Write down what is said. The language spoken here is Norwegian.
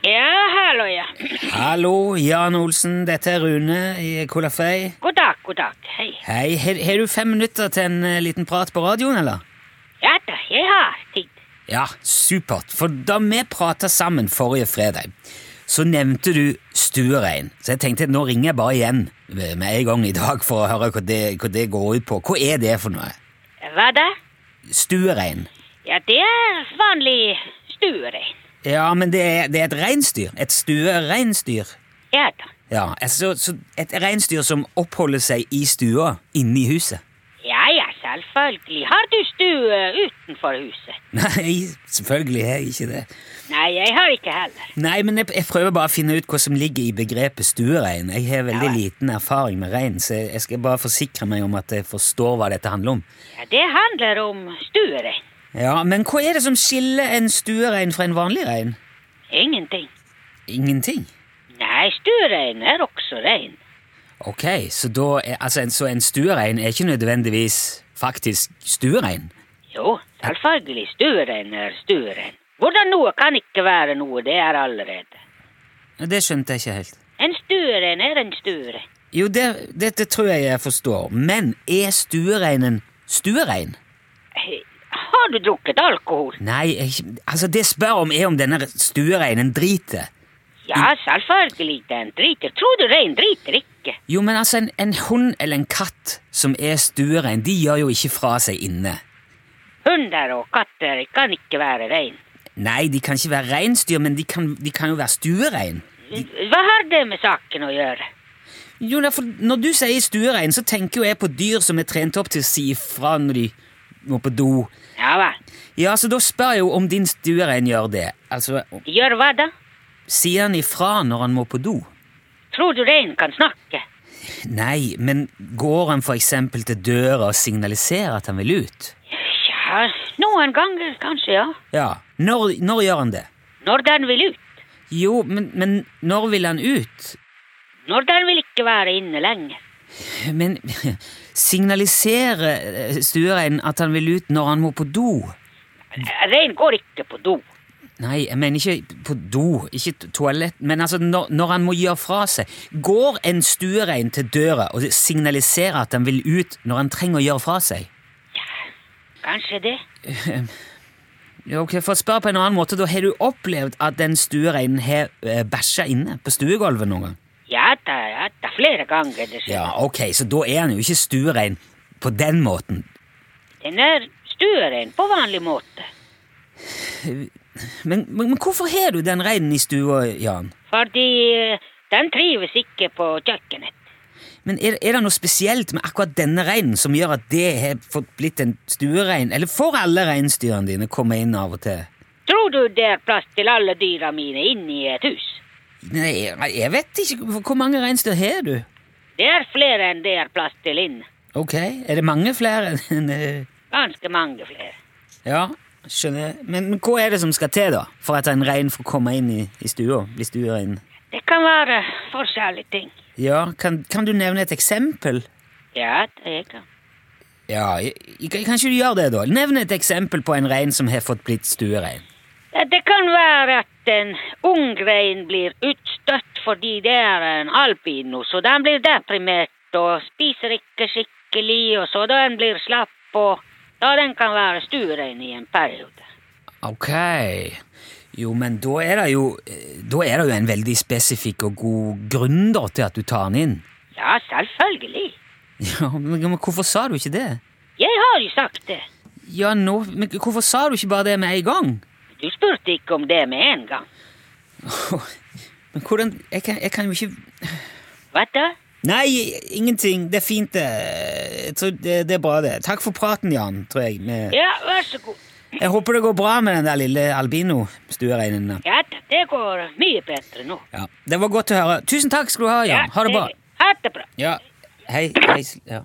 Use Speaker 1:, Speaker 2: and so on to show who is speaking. Speaker 1: Ja, hallo, ja.
Speaker 2: Hallo, Jan Olsen. Dette er Rune i Kolafei.
Speaker 1: God dag, god dag. Hei.
Speaker 2: Hei, har har du fem minutter til en eh, liten prat på radioen, eller?
Speaker 1: Ja da, jeg har tid.
Speaker 2: Ja, supert. For da vi prata sammen forrige fredag, så nevnte du stuerein. Så jeg tenkte at nå ringer jeg bare igjen med en gang i dag for å høre hva det, hva det går ut på. Hva er det for noe?
Speaker 1: Hva da?
Speaker 2: Stuerein.
Speaker 1: Ja, det er vanlig stuerein.
Speaker 2: Ja, men det er, det er et reinsdyr. Et stuereinsdyr.
Speaker 1: Ja da.
Speaker 2: Ja, altså, så et reinsdyr som oppholder seg i stua, inne i huset.
Speaker 1: Ja, ja, selvfølgelig. Har du stue utenfor huset?
Speaker 2: Nei, selvfølgelig er jeg ikke det.
Speaker 1: Nei, jeg har ikke heller.
Speaker 2: Nei, men jeg, jeg prøver bare å finne ut hva som ligger i begrepet stuerein. Jeg har veldig
Speaker 1: Ja vel.
Speaker 2: liten erfaring med rein, så jeg jeg skal bare forsikre meg om at jeg forstår hva dette handler om.
Speaker 1: Ja, det handler om stuerein.
Speaker 2: Ja, Men hva er det som skiller en stuerein fra en vanlig rein?
Speaker 1: Ingenting.
Speaker 2: Ingenting.
Speaker 1: Nei, stuerein er også rein.
Speaker 2: Ok, så, da er, altså, en, så en stuerein er ikke nødvendigvis faktisk stuerein?
Speaker 1: Jo, selvfølgelig. Stuerein er stuerein. Hvordan noe kan ikke være noe, det er allerede.
Speaker 2: Ja, Det skjønte jeg ikke helt.
Speaker 1: En stuerein er en stuerein.
Speaker 2: Jo, det, det, det tror jeg jeg forstår, men er stuereinen stuerein?
Speaker 1: Hei, Har du drukket alkohol?
Speaker 2: Nei, jeg, altså det jeg spør om, er om denne stuereinen driter.
Speaker 1: Ja, selvfølgelig den driter. Tror du rein driter ikke?
Speaker 2: Jo, men altså, en, en hund eller en katt som er stuerein, de gjør jo ikke fra seg inne.
Speaker 1: Hunder og katter kan ikke være rein.
Speaker 2: Nei, de kan ikke være reinsdyr, men de kan, de kan jo være stuerein.
Speaker 1: Hva har det med saken å gjøre?
Speaker 2: Jo, derfor, når du sier stuerein, så tenker jo jeg på dyr som er trent opp til å si ifra når de må på do.
Speaker 1: Ja vel.
Speaker 2: Ja, så da spør jeg jo om din stuerein gjør det. Altså,
Speaker 1: Gjør hva da?
Speaker 2: sier han ifra når han må på do?
Speaker 1: Tror du rein kan snakke?
Speaker 2: Nei, men går han for eksempel til døra og signaliserer at han vil ut?
Speaker 1: Ja, noen ganger kanskje, ja.
Speaker 2: Ja. Når, når gjør han det?
Speaker 1: Når den vil ut.
Speaker 2: Jo, men, men når vil han ut?
Speaker 1: Når den vil ikke være inne lenge.
Speaker 2: Men signaliserer eh, stuereinen at han vil ut når han må på do?
Speaker 1: Rein går ikke på do.
Speaker 2: Nei, jeg mener ikke på do, ikke to- toalett, men altså når, når han må gjøre fra seg. Går en stuerein til døra og signaliserer at han vil ut når han trenger å gjøre fra seg?
Speaker 1: Kanskje det?
Speaker 2: Ja, Ok, For å spørre på en annen måte, da har du opplevd at den stuereinen har eh, bæsja inne på stuegulvet noen gang?
Speaker 1: Ja da, ja da. Flere ganger, dessverre.
Speaker 2: Ja, ok, så da er han jo ikke stuerein på den måten.
Speaker 1: Den er stuerein på vanlig måte.
Speaker 2: Men, men, men hvorfor har du den reinen i stua, Jan?
Speaker 1: Fordi eh, den trives ikke på kjøkkenet.
Speaker 2: Men er, er det noe spesielt med akkurat denne reinen som gjør at det har fått blitt en stuerein? Eller får alle reinsdyrene dine komme inn av og til?
Speaker 1: Tror du det er plass til alle dyra mine inni et hus?
Speaker 2: Nei, jeg, jeg vet ikke. Hvor- Hvor mange reinsdyr har du?
Speaker 1: Det er flere enn det er plass til inne.
Speaker 2: Ok, er det mange flere enn eh,
Speaker 1: Ganske mange flere.
Speaker 2: Ja, skjønner. Men, men hva er det som skal til, da? For at en rein får komme inn i, i stua? Bli stuerein?
Speaker 1: Det kan være forskjellige ting.
Speaker 2: Ja, kan, kan du nevne et eksempel?
Speaker 1: Ja, det er kan.
Speaker 2: Ja, jeg, jeg, kanskje du gjør det, da? Nevne et eksempel på en rein som har fått blitt stuerein.
Speaker 1: Ja, Det kan være at en ung rein blir utstøtt fordi det er en albino, så den blir deprimert og spiser ikke skikkelig, og så den blir slapp, og da den kan være stuerein i en periode.
Speaker 2: Ok. Jo, men da er det jo eh, Da er det jo en veldig spesifikk og god grunn da til at du tar den inn.
Speaker 1: Ja, selvfølgelig.
Speaker 2: Ja, men, men hvorfor sa du ikke det?
Speaker 1: Jeg har jo sagt det.
Speaker 2: Ja, nå Men hvorfor sa du ikke bare det med en gang?
Speaker 1: Du spurte ikke om det med en gang.
Speaker 2: Men hvordan Jeg kan, jeg kan jo ikke
Speaker 1: Hva da?
Speaker 2: Nei, ingenting. Det er fint, det. Jeg tror det, det er bra, det. Takk for praten, Jan, tror jeg. Med,
Speaker 1: Ja, vær så god.
Speaker 2: jeg håper det går bra med den der lille albino-stuereinen.
Speaker 1: Ja, da, det går mye bedre nå.
Speaker 2: Ja, det var godt å høre. Tusen takk skal du ha, Jan. Ha det bra.
Speaker 1: Ha det bra.
Speaker 2: Ja, hei. hei s- ja.